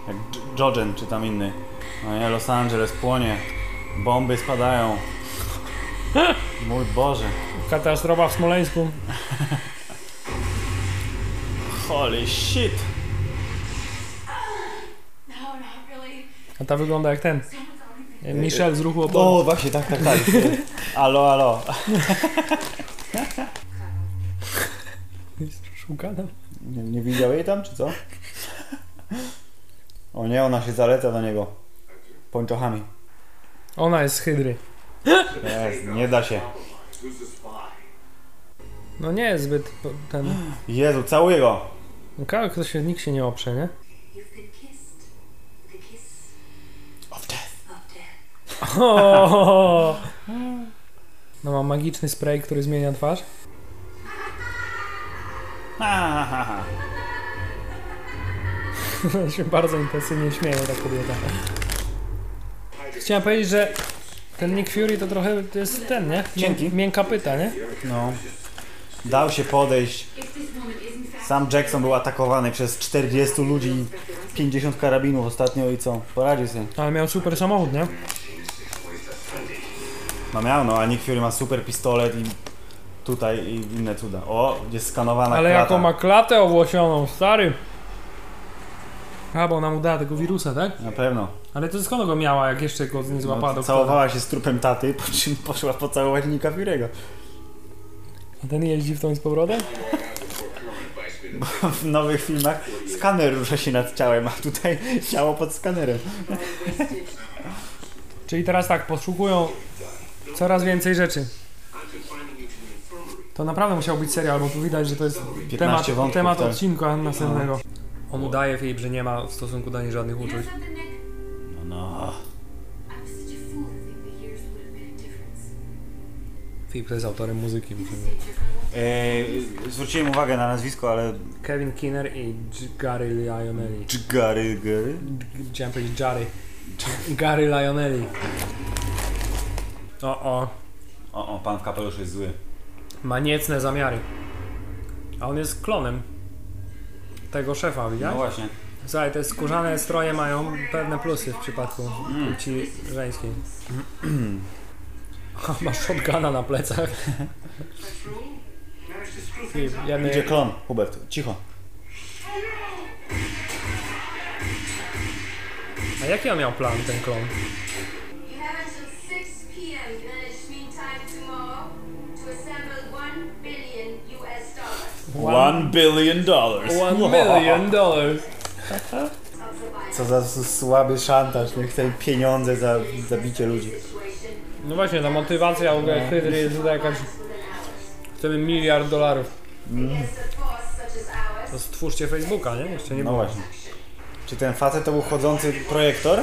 B: Jak Dż- Jojen czy tam inny. No nie, Los Angeles płonie. Bomby spadają. Mój Boże.
A: Katastrofa w Smoleńsku.
B: Holy shit.
D: No, not really.
A: A ta wygląda jak ten. Michel z ruchu oporu.
B: O, właśnie, tak, tak, tak. Alo, alo.
A: Szukana.
B: Nie, nie widział jej tam, czy co? O nie, ona się zaleca do niego. Pończochami.
A: Ona jest z hydry.
B: Jest, nie da się.
C: Who's the spy?
A: No nie jest zbyt po- ten.
B: Jezu, całuję go.
A: No Kawałek to się nikt się nie oprze, nie?
D: You've been kissed. The kiss
B: Of death.
D: of death.
A: O! No ma magiczny spray, który zmienia twarz.
B: Ha, ha, ha.
A: się bardzo intensywnie śmieje ta kobieta. Chciałem powiedzieć, że ten Nick Fury to trochę to jest ten, nie?
B: Cienki.
A: Miękka pyta, nie?
B: No. Dał się podejść.
D: If this woman is in fact
B: Sam Jackson był atakowany przez 40 ludzi i 50 karabinów ostatnio i co? Poradził sobie.
A: Ale miał super samochód, nie?
B: No miał, no, a Nick Fury ma super pistolet i tutaj i inne cuda. O, jest skanowana
A: Ale
B: klata.
A: jaką ma klatę owłosioną, stary! A, bo ona mu dała tego wirusa, tak?
B: Na pewno.
A: Ale to skąd go miała, jak jeszcze go nie złapała do
B: No, Całowała się z trupem taty, po czym poszła pocałować Nicka Fury'ego.
A: A ten jeździ w tą i z powrotem?
B: W nowych filmach skaner rusza się nad ciałem, a tutaj ciało pod skanerem.
D: wasted.
A: Czyli teraz tak, poszukują coraz więcej rzeczy. To naprawdę musiał być serial, bo tu widać, że to jest
B: 15
A: temat,
B: wątków,
A: temat
B: tak.
A: odcinka następnego. On udaje Filip, że nie ma w stosunku do niej żadnych
D: You know something, Nick?
B: No, no.
D: I was such a fool to think the years would have made a difference.
A: Filip to jest autorem muzyki.
D: You saved your whole
B: Eee, zwróciłem uwagę na nazwisko, ale...
A: Kevin Kinner i Dż- Gary Lionelli.
B: Gary, Gary?
A: Chciałem powiedzieć Jary. Gary Lionelli. O, o.
B: O, o, pan w kapeluszu jest zły.
A: Ma niecne zamiary. A on jest klonem tego szefa, widziałeś?
B: No właśnie.
A: Słuchaj, te skórzane stroje mają pewne plusy w przypadku płci żeńskiej. Ha, Masz shotguna na plecach. I Jemy...
B: Idzie klon, Hubert, cicho.
A: A jaki on miał plan, ten klon?
D: You have until 6 p.m. Greenwich Mean Time tomorrow to assemble 1 billion US dollars
B: One billion dollars.
A: One million dollars.
D: of survival.
B: Co za s- słaby szantaż, nie chcę pieniądze za zabicie ludzi.
D: Situation
A: No właśnie, ta motywacja w ogóle Hydry jest tutaj jakaś...
D: within hours.
A: Chcemy No. miliard dolarów.
D: Against a force such as ours,
A: To stwórzcie Facebooka, nie? Jeszcze nie
B: No
A: było.
B: właśnie. Czy ten facet to był chodzący projektor?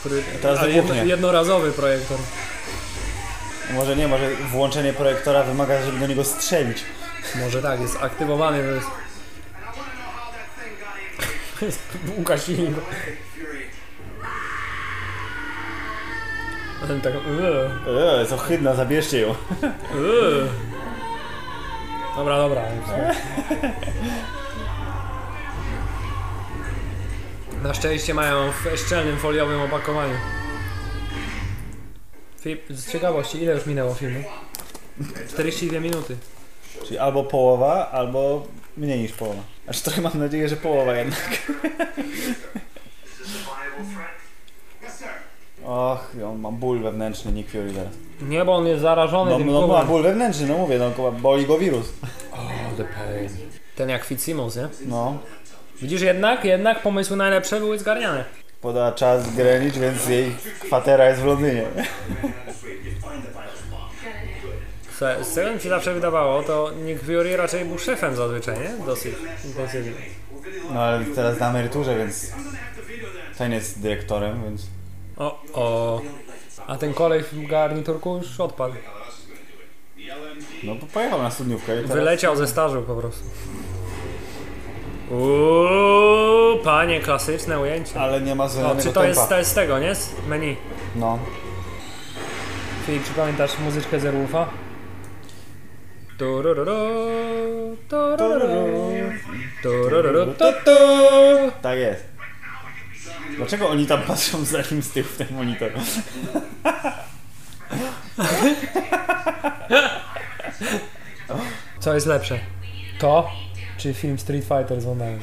A: Który...
B: teraz
A: Ale jedno,
B: wybuchnie.
A: jednorazowy projektor.
B: Może nie, może włączenie projektora wymaga, żeby do niego strzelić.
A: Może tak, jest aktywowany. To jest... Łukasz Ilinko. A ten tak... "Eee,
B: Eee, jest ohydna, zabierzcie ją.
A: eee". Dobra, dobra. Na szczęście mają w szczelnym foliowym opakowaniu. Fi- Z ciekawości, ile już minęło filmu? 42 minuty.
B: Czyli albo połowa, albo mniej niż połowa. Aż trochę mam nadzieję, że połowa jednak.
C: Is this a viable threat? Yes, sir.
B: Och, on ma ból wewnętrzny, Nick Fury teraz.
A: Nie, bo on jest zarażony
B: No,
A: tym
B: no ma
A: kołem.
B: ból wewnętrzny, no mówię, no kurwa, boli go wirus.
A: Ten jak Fitzsimmons, nie?
B: No.
A: Widzisz, jednak, jednak pomysły najlepsze były zgarniane.
B: Podała czas Greenwich, więc jej kwatera jest w Londynie.
A: Słuchaj, Z tego mi się zawsze wydawało, to Nick Fury raczej był szefem zazwyczaj, nie? Dosyć intensywnie.
B: No ale teraz na emeryturze, więc... Ten jest dyrektorem, więc...
A: O, o. A ten kolej w garniturku już odpadł.
B: No bo pojechał na studniówkę i teraz...
A: Wyleciał ze stażu po prostu. Uuu, panie, klasyczne ujęcie.
B: Ale nie ma
A: O,
B: zwolnionego
A: No, czy to
B: tempa.
A: jest, to jest z tego, nie? Z menu.
B: No.
A: Filip, czy pamiętasz muzyczkę z Erwulfa? Turururu, turururu, turururu, tu, tu.
B: Tak jest. Dlaczego oni tam patrzą za nim z tyłu w ten monitor?
A: Co jest lepsze? To? Czy film Street Fighter z Van Damme?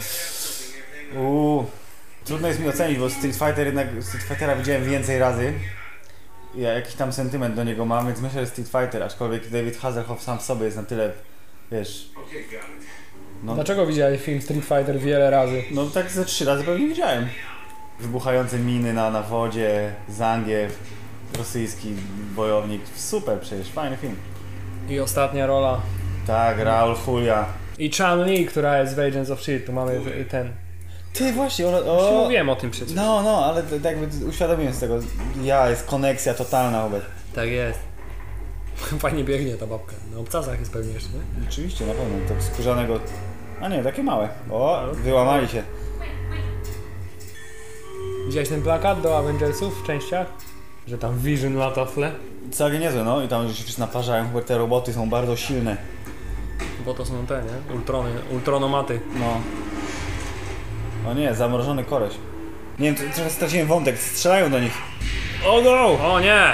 B: Uuu. Trudno jest mi ocenić, bo Street Fighter jednak... Street Fightera widziałem więcej razy. Ja jakiś tam sentyment do niego mam, więc myślę, że Street Fighter, aczkolwiek David Hasselhoff sam w sobie jest na tyle, wiesz...
C: Okay, got it.
A: Dlaczego widziałeś film Street Fighter wiele razy?
B: No tak ze trzy razy pewnie widziałem. Wybuchające miny na, na wodzie, Zangiew, rosyjski bojownik. Super przecież, fajny film.
A: I ostatnia rola.
B: Tak, Raul Julia.
A: I Chan Lee, która jest w Agents of S.H.I.E.L.D. Tu mamy t- ten...
B: Ty właśnie, o...
A: Już
B: o
A: mówiłem o tym przecież.
B: no, no, ale t- jakby uświadomiłem z tego. Ja, jest koneksja totalna wobec.
A: Tak jest. Fajnie biegnie ta babka. Na obcasach jest pewnie jeszcze, nie?
B: Oczywiście, na pewno, to skórzanego... A nie, takie małe. O, wyłamali się.
A: Widziałeś ten plakat do Avengersów w częściach? Że tam Vision lata w tle?
B: Całkiem niezłe, no i tam już wszyscy naparzają, bo te roboty są bardzo silne.
A: Bo to są te, nie? Ultrony, ultronomaty.
B: No. O nie, zamrożony koleś. Nie wiem, tr- trochę straciłem wątek, strzelają do nich.
A: O no! O nie!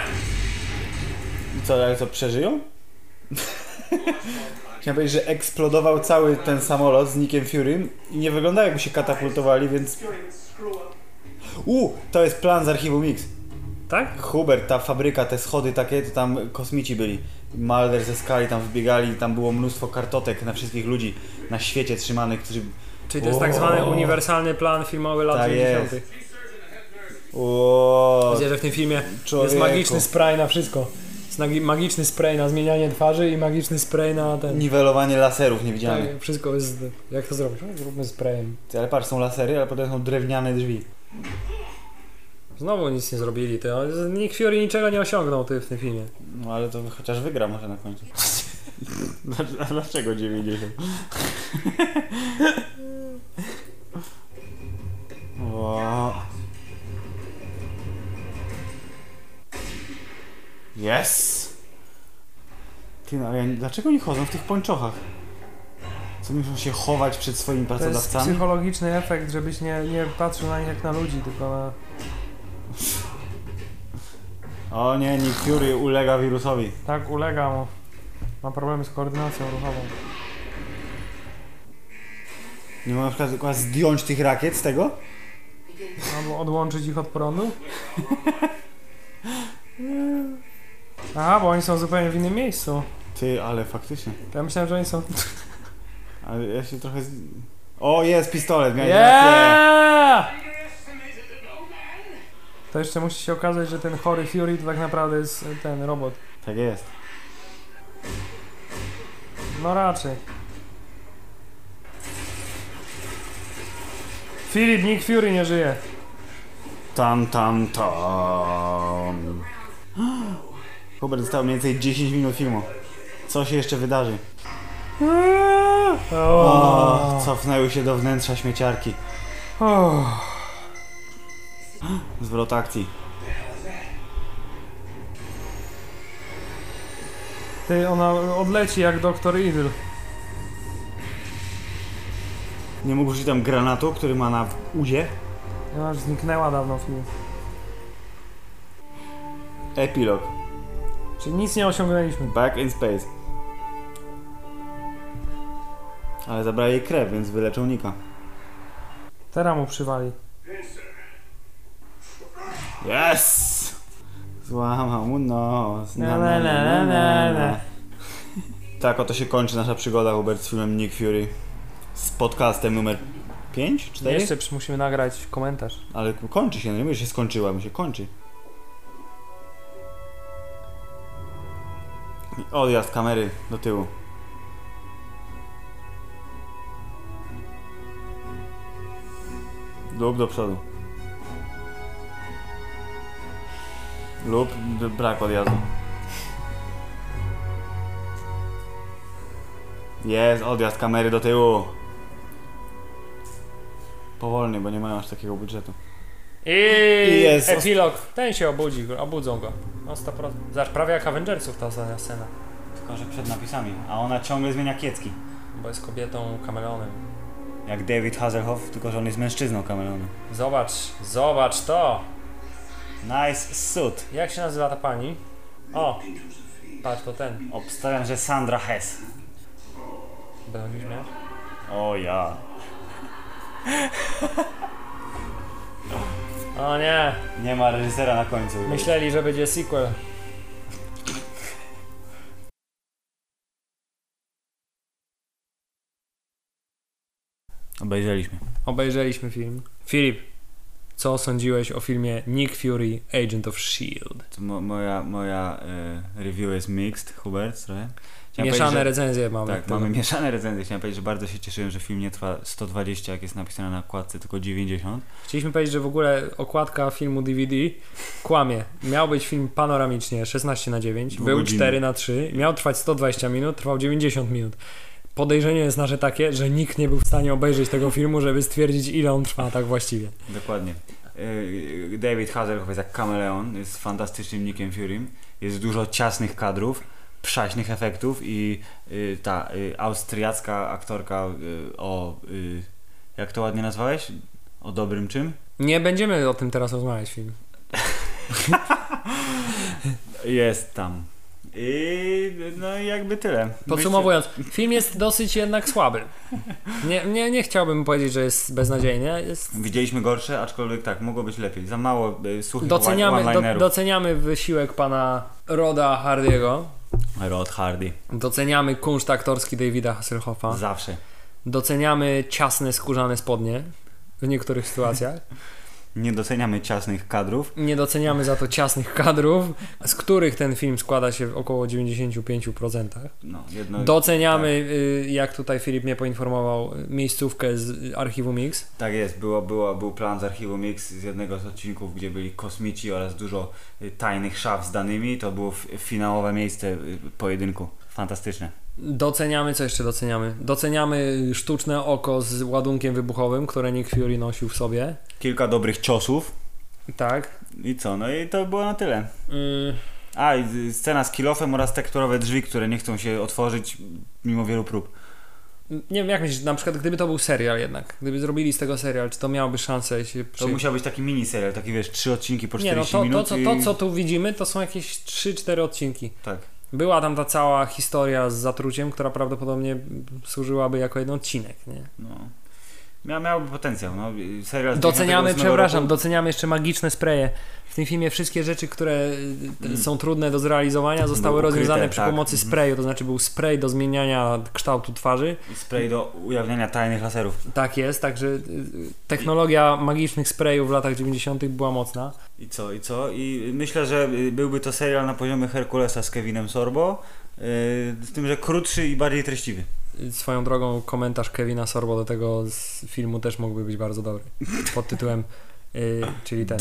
B: I Co, ale to przeżyją? Chciałem powiedzieć, że eksplodował cały ten samolot z Nickiem Fury i nie wygląda jakby się katapultowali, więc... U, to jest plan z archiwum Mix.
A: Tak?
B: Hubert, ta fabryka, te schody takie, to tam kosmici byli. Mulder ze skali tam wbiegali, tam było mnóstwo kartotek na wszystkich ludzi na świecie trzymanych, którzy...
A: Czyli to jest tak zwany uniwersalny plan filmowy lat
B: Tak
A: 90.
B: jest. O,
A: Widzę, że w tym filmie jest
B: Człowieku.
A: magiczny spray na wszystko. Jest nagi- magiczny spray na zmienianie twarzy i magiczny spray na ten...
B: niwelowanie laserów nie
A: Tak,
B: widziałem.
A: wszystko jest... Jak to zrobić? No, Zróbmy sprayem.
B: Ale patrz, są lasery, ale potem są drewniane drzwi.
A: Znowu nic nie zrobili, ty. On- Nick Fury niczego nie osiągnął ty w tym filmie.
B: No ale to chociaż wygra może na końcu. Dlac- a Dlaczego 90? Wow. Yes! Ty, no, ale ja, dlaczego nie chodzą w tych pończochach? Co muszą się chować przed swoimi pracodawcami?
A: psychologiczny efekt, żebyś nie, nie patrzył na nich jak na ludzi, tylko na...
B: O nie, Nick Fury ulega wirusowi.
A: Tak, ulega mu. Ma problemy z koordynacją ruchową.
B: Nie ma na przykład tylko zdjąć tych rakiet z tego?
A: Albo odłączyć ich od prądu? Aha, bo oni są zupełnie w innym miejscu.
B: Ty, ale faktycznie.
A: To Ja myślałem, że oni są...
B: Ale ja się trochę. Z... O, jest pistolet, miałeś rację.
A: Yeah!
C: Underestimated an old man?
A: To jeszcze musi się okazać, że ten chory Fury to tak naprawdę jest ten robot.
B: Tak jest.
A: No raczej. Filip, Nick Fury nie żyje.
B: Tam, tam, tam. Hubert dostał mniej więcej 10 minut filmu. Co się jeszcze wydarzy? O, cofnęły się do wnętrza śmieciarki. Zwrot akcji.
A: Ty, ona odleci jak doktor Evil.
B: Nie mógł użyć tam granatu, który ma na udzie.
A: No, już zniknęła dawno filmu.
F: Epilog.
A: Czyli nic nie osiągnęliśmy.
F: Back in space. Ale zabrali jej krew, więc wyleczą Nika.
A: Teraz mu przywali.
F: Yes! Złamał mu nos.
A: Na, na, na, na, na, na.
F: Tak, oto się kończy nasza przygoda, Hubert, z filmem Nick Fury. Z podcastem numer 5? 4?
A: Jeszcze przy- musimy nagrać komentarz.
F: Ale kończy się, no nie mówię, że się skończyła, mi się kończy. Odjazd kamery do tyłu. Lub do przodu. Lub b- brak odjazdu. Jest odjazd kamery do tyłu. Powolny, bo nie mają aż takiego budżetu.
A: I
F: Jest.
A: epilog. Ten się obudzi, obudzą go. No 100%. Zaraz prawie jak Avengersów ta ostatnia scena.
B: Tylko, że przed napisami. A ona ciągle zmienia kiecki.
A: Bo jest kobietą kameleonem.
B: Jak David Hasselhoff, tylko że on jest mężczyzną kameleonem.
A: Zobacz, zobacz to!
B: Nice suit.
A: Jak się nazywa ta pani? O! Patrz, to ten.
B: Obstawiam, że Sandra Hess.
A: Będą się śmiać?
B: O ja.
A: O nie!
B: Nie ma reżysera na końcu.
A: Myśleli, że będzie sequel.
B: Obejrzeliśmy.
A: Obejrzeliśmy film. Filip, co sądziłeś o filmie Nick Fury, Agent of S.H.I.E.L.D.?
B: To mo- moja moja e, review jest mixed, Hubert, trochę. Chciałem
A: Mieszane
B: powiedzieć,
A: recenzje
B: że,
A: mamy.
B: Tak, mamy mieszane recenzje. Chciałem powiedzieć, że bardzo się cieszyłem, że film nie trwa 120, jak jest napisane na okładce, tylko 90.
A: Chcieliśmy powiedzieć, że w ogóle okładka filmu DVD kłamie. Miał być film panoramicznie 16 na 9 był
B: Dwugodzinny.
A: 4 na 3 miał trwać 120 minut, trwał 90 minut. Podejrzenie jest nasze takie, że nikt nie był w stanie obejrzeć tego filmu, żeby stwierdzić, ile on trwa tak właściwie.
B: Dokładnie. E, David Hasselhoff jest jak kameleon, jest fantastycznym Nickiem Furym. Jest dużo ciasnych kadrów, przaśnych efektów i e, ta e, austriacka aktorka e, o... e, jak to ładnie nazwałeś? O dobrym czym?
A: Nie będziemy o tym teraz rozmawiać film.
B: Jest tam. I no i jakby tyle.
A: Podsumowując, film jest dosyć jednak słaby. Nie, nie, nie chciałbym powiedzieć, że jest beznadziejny. Jest...
B: Widzieliśmy gorsze, aczkolwiek tak, mogło być lepiej. Za mało e, suchych
A: Doceniamy, do,
B: one-linerów.
A: doceniamy wysiłek pana Roda Hardiego.
B: Rod Hardy.
A: Doceniamy kunszt aktorski Davida Hasselhoffa.
B: Zawsze.
A: Doceniamy ciasne skórzane spodnie w niektórych sytuacjach.
B: Nie doceniamy ciasnych kadrów.
A: Nie doceniamy za to ciasnych kadrów, z których ten film składa się w około 95%.
B: No, tak. jedno,
A: Doceniamy, y, jak tutaj Filip mnie poinformował, y, miejscówkę z archiwum Mix.
B: Tak jest, było, było, był plan z archiwum Mix z jednego z odcinków, gdzie byli kosmici oraz dużo y, tajnych szaf z danymi. To było f- finałowe miejsce y, pojedynku. Fantastyczne.
A: Doceniamy, co jeszcze doceniamy? Doceniamy sztuczne oko z ładunkiem wybuchowym, które Nick Fury nosił w sobie.
B: Kilka dobrych ciosów
A: Tak.
B: i co? No i to było na tyle.
A: Y,
B: A, i y, scena z kilofem oraz tekturowe drzwi, które nie chcą się otworzyć mm, mimo wielu prób.
A: nie wiem, jak myślisz, na przykład gdyby to był serial jednak, gdyby zrobili z tego serial, czy to miałoby szansę się
B: To musiał być taki mini serial, taki wiesz, trzy odcinki po
A: Nie, no
B: 40
A: to, to,
B: minut.
A: co,
B: i...
A: to, co tu widzimy, to są jakieś 3-4 odcinki.
B: Tak.
A: Była tam ta cała historia z zatruciem, która prawdopodobnie służyłaby jako jeden odcinek, nie?
B: No. Mia, miałby potencjał. No. y, Serial z
A: Doceniamy,
B: 98
A: przepraszam,
B: roku.
A: doceniamy jeszcze magiczne spreje. W tym filmie wszystkie rzeczy, które y, y, są trudne do zrealizowania, zostały
B: Były ukryte,
A: rozwiązane przy
B: tak.
A: pomocy
B: Mhm.
A: sprayu, to znaczy był spray do zmieniania kształtu twarzy.
B: I Spray do ujawniania tajnych laserów.
A: Tak jest, także y, y, technologia magicznych sprayów w latach 90. była mocna.
B: I co, i co? I myślę, że y, byłby to serial na poziomie Herkulesa z Kevinem Sorbo, y, z tym, że krótszy i bardziej treściwy.
A: Swoją drogą komentarz Kevina Sorbo do tego z filmu też mógłby być bardzo dobry. Pod tytułem, y, czyli ten.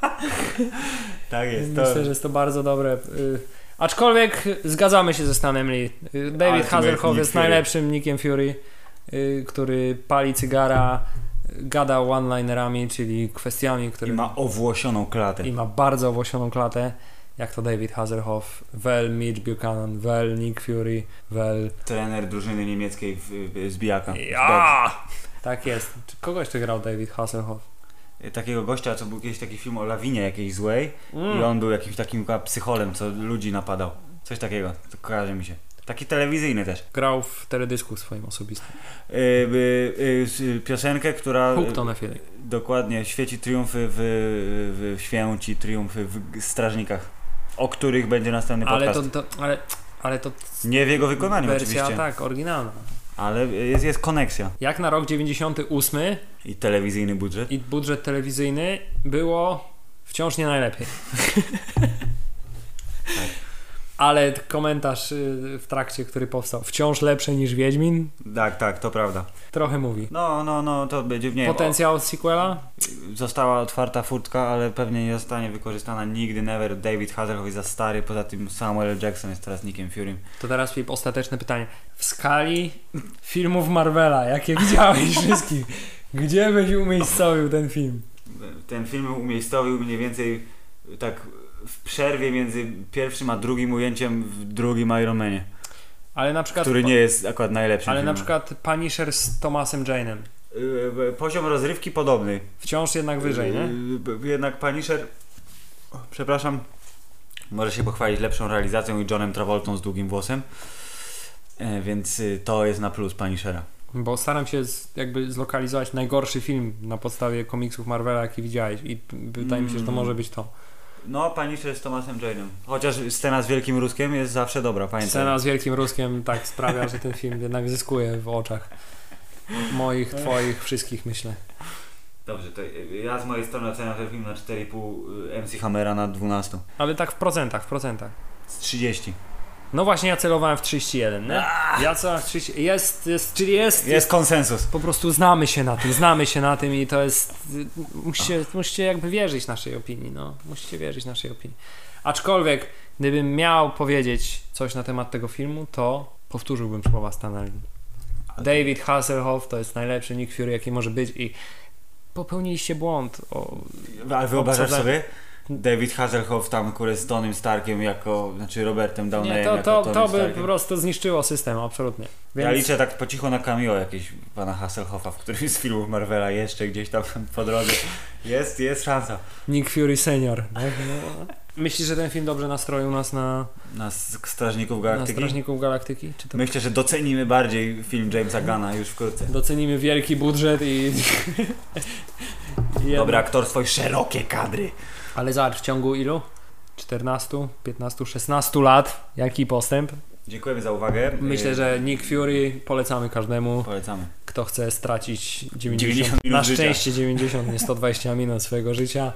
B: tak jest. To...
A: Myślę, że jest to bardzo dobre. y, Aczkolwiek zgadzamy się ze Stanem Lee. Y, David
B: Ultimate
A: Hasselhoff
B: Nick
A: jest
B: Fury.
A: najlepszym Nickiem Fury, y, który pali cygara, y, gada one-linerami, czyli kwestiami, które
B: I ma owłosioną klatę.
A: i ma bardzo owłosioną klatę. Jak to David Hasselhoff, well Mitch Buchanan, well Nick Fury, well...
B: No, Trener drużyny niemieckiej w, w, z Bijaka. W
A: Ja! Tak jest. Czy kogoś tu grał David Hasselhoff?
B: Y, Takiego gościa, co był kiedyś taki film o lawinie jakiejś złej
A: Mm.
B: i on był jakimś takim chyba psycholem, co ludzi napadał. Coś takiego, to kojarzy mi się. Taki telewizyjny też. Y,
A: Grał w teledysku swoim osobistym.
B: Yy, yy, yy, s- yy, piosenkę, która...
A: Hooked on a Feeling.
B: Dokładnie, świeci triumfy w, w święci triumfy w strażnikach, o których będzie następny
A: Ale
B: podcast.
A: to, to, ale, ale to
B: Nie w jego wykonaniu
A: wersja,
B: oczywiście,
A: tak, oryginalna.
B: ale jest, jest koneksja.
A: Jak na rok 98
B: I telewizyjny budżet.
A: i budżet telewizyjny było wciąż nie najlepiej. Tak. Ale komentarz y, w trakcie, który powstał, wciąż lepszy niż Wiedźmin,
B: Tak, tak, to prawda.
A: trochę mówi.
B: No, no, no, to będzie w niej.
A: Potencjał sequela?
B: O, została otwarta furtka, ale pewnie nie zostanie wykorzystana nigdy, never. David Hasselhoff jest za stary, poza tym Samuel L. Jackson jest teraz Nickiem Fury.
A: To teraz Filip, ostateczne pytanie. W skali filmów Marvela, jakie widziałeś wszystkich, gdzie byś umiejscowił ten film?
B: Ten film umiejscowił mniej więcej tak w przerwie między pierwszym a drugim ujęciem w drugim Iron Manie.
A: Ale na przykład...
B: Który nie jest akurat najlepszym
A: ale na
B: filmem.
A: przykład Punisher z Thomasem Jane'em.
B: Y, y, Poziom rozrywki podobny.
A: Wciąż jednak wyżej, nie?
B: Y, b- Jednak Punisher... o, Przepraszam. Może się pochwalić lepszą realizacją i Johnem Travoltą z długim włosem. E, Więc y, to jest na plus Punishera.
A: Bo staram się z, jakby zlokalizować najgorszy film na podstawie komiksów Marvela, jaki widziałeś i p- wydaje mi się, że to
B: Mm.
A: może być to.
B: No, Punisher z Thomasem Jane'em. Chociaż scena z Wielkim Ruskiem jest zawsze dobra, pamiętaj.
A: Scena z Wielkim Ruskiem tak sprawia, że ten film jednak zyskuje w oczach moich, twoich, wszystkich myślę.
B: Dobrze, to y, ja z mojej strony oceniam ten film na 4,5 y, MC Hammera na 12.
A: Ale tak w procentach, w procentach.
B: Z 30.
A: No właśnie ja celowałem w 31, nie? Ja celowałem w 30... Jest, jest, czyli jest, jest.
B: Jest konsensus.
A: Po prostu znamy się na tym, znamy się na tym i to jest... y, Musicie, musicie jakby wierzyć naszej opinii, no. Musicie wierzyć naszej opinii. Aczkolwiek, gdybym miał powiedzieć coś na temat tego filmu, to powtórzyłbym słowa Stanley. David Hasselhoff to jest najlepszy Nick Fury, jaki może być i popełniliście błąd. O,
B: Ale wyobrażasz
A: Obsadzenie.
B: sobie? David Hasselhoff tam, który z Tonym Starkiem jako, znaczy Robertem
A: nie,
B: Downeyem
A: to,
B: jako
A: to,
B: Tonym
A: to by po
B: Starkiem.
A: prostu zniszczyło system, absolutnie.
B: Ja
A: Więc
B: liczę tak po cichu na cameo jakieś pana Hasselhoffa w którymś z filmów Marvela jeszcze gdzieś tam po drodze. Jest, jest szansa.
A: Nick Fury senior. tak? No. Myślisz, że ten film dobrze nastroił nas na,
B: Na s- Strażników
A: na
B: Galaktyki.
A: Strażników Galaktyki? Czy to
B: Myślę, że docenimy bardziej film Jamesa Gunna już wkrótce.
A: Docenimy wielki budżet i. i
B: Dobre
A: jednak-
B: aktorstwo i szerokie kadry.
A: Ale zobacz, w ciągu ilu? 14, 15, 16 lat. Jaki postęp?
B: Dziękujemy za uwagę.
A: Myślę,
B: Y,
A: że Nick Fury polecamy każdemu,
B: Polecamy.
A: kto chce stracić 90,
B: 90 minut
A: na
B: życia.
A: szczęście 90, nie 120 minut swojego życia.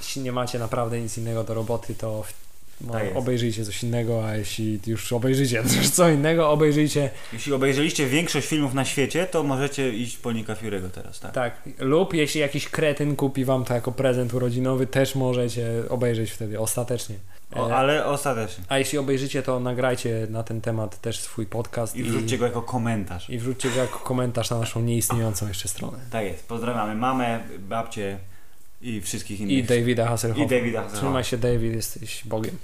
A: Jeśli nie macie naprawdę nic innego do roboty, to w- no,
B: Tak jest.
A: obejrzyjcie coś innego, a jeśli już obejrzycie coś co innego, obejrzyjcie
B: Jeśli obejrzeliście większość filmów na świecie, to możecie iść po Nika Fury'ego teraz, tak?
A: Tak, lub jeśli jakiś kretyn kupi wam to jako prezent urodzinowy, też możecie obejrzeć wtedy ostatecznie.
B: O,
A: E,
B: ale ostatecznie.
A: A jeśli obejrzycie, to nagrajcie na ten temat też swój podcast
B: I wrzućcie go jako komentarz.
A: i wrzućcie go jako komentarz na naszą nieistniejącą jeszcze stronę.
B: Tak jest. Pozdrawiamy mamę, babcię i wszystkich innych.
A: I Davida
B: I
A: Hasselhoffa.
B: Davida.
A: Trzymaj się, David, jesteś Bogiem.